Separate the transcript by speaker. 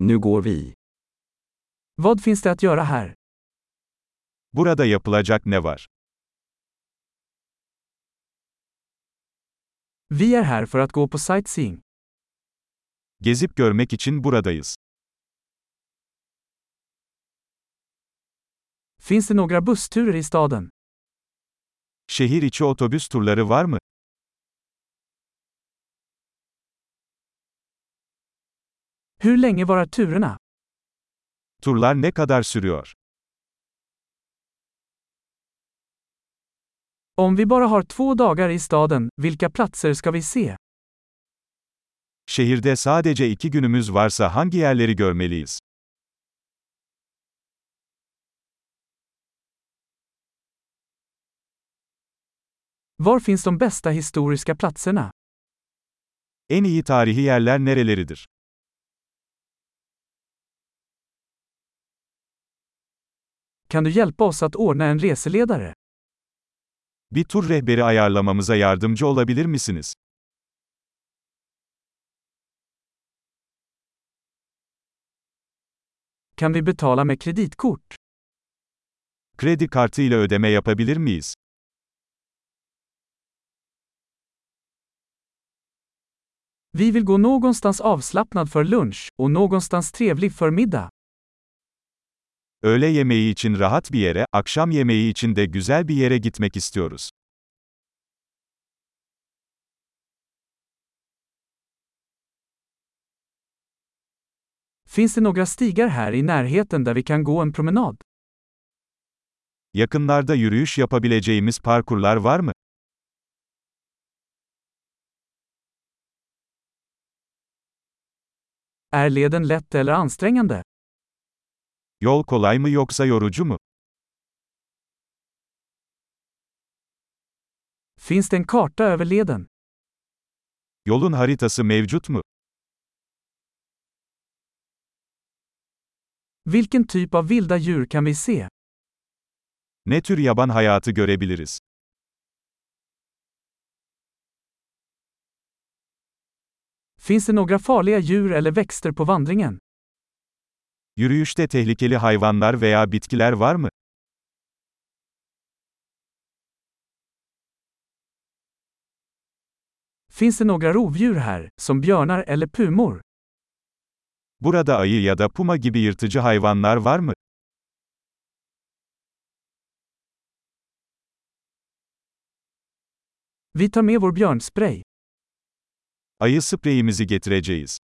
Speaker 1: Nu går vi.
Speaker 2: Vad finns det att göra här?
Speaker 3: Burada yapılacak ne var?
Speaker 2: Vi är här för att gå på sightseeing.
Speaker 3: Gezip görmek için buradayız.
Speaker 2: Finns det några bussturer i staden?
Speaker 3: Şehir içi otobüs turları var mı?
Speaker 2: Hur länge varar turerna?
Speaker 3: Turlar ne kadar sürüyor?
Speaker 2: Om vi bara har två dagar i staden, vilka platser ska vi se?
Speaker 3: Şehirde sadece iki günümüz varsa hangi yerleri görmeliyiz?
Speaker 2: Var finns de bästa historiska platserna?
Speaker 3: En iyi tarihi yerler nereleridir?
Speaker 2: Kan du hjälpa oss att ordna en reseledare?
Speaker 3: Bir tur rehberi ayarlamamıza yardımcı olabilir misiniz?
Speaker 2: Kan vi betala med kreditkort?
Speaker 3: Kredi kartı ile ödeme yapabilir miyiz?
Speaker 2: Vi vill gå någonstans avslappnad för lunch och någonstans trevlig för middag.
Speaker 3: Öğle yemeği için rahat bir yere, akşam yemeği için de güzel bir yere gitmek istiyoruz.
Speaker 2: Finns det några stigar här i närheten där vi kan gå en promenad?
Speaker 3: Yakınlarda yürüyüş yapabileceğimiz parkurlar var mı?
Speaker 2: Är leden lätt eller ansträngande?
Speaker 3: Yol kolay mı yoksa yorucu mu?
Speaker 2: Finns det en karta över leden?
Speaker 3: Yolun haritası mevcut mu?
Speaker 2: Vilken typ av vilda djur kan vi se?
Speaker 3: Ne tür yaban hayatı görebiliriz?
Speaker 2: Finns det några farliga djur eller växter på vandringen?
Speaker 3: Yürüyüşte tehlikeli hayvanlar veya bitkiler var mı?
Speaker 2: Finns det några rovdjur här, som björnar eller pumor?
Speaker 3: Burada ayı ya da puma gibi yırtıcı hayvanlar var mı?
Speaker 2: Vi tar med vår björnspray.
Speaker 3: Ayı spreyimizi getireceğiz.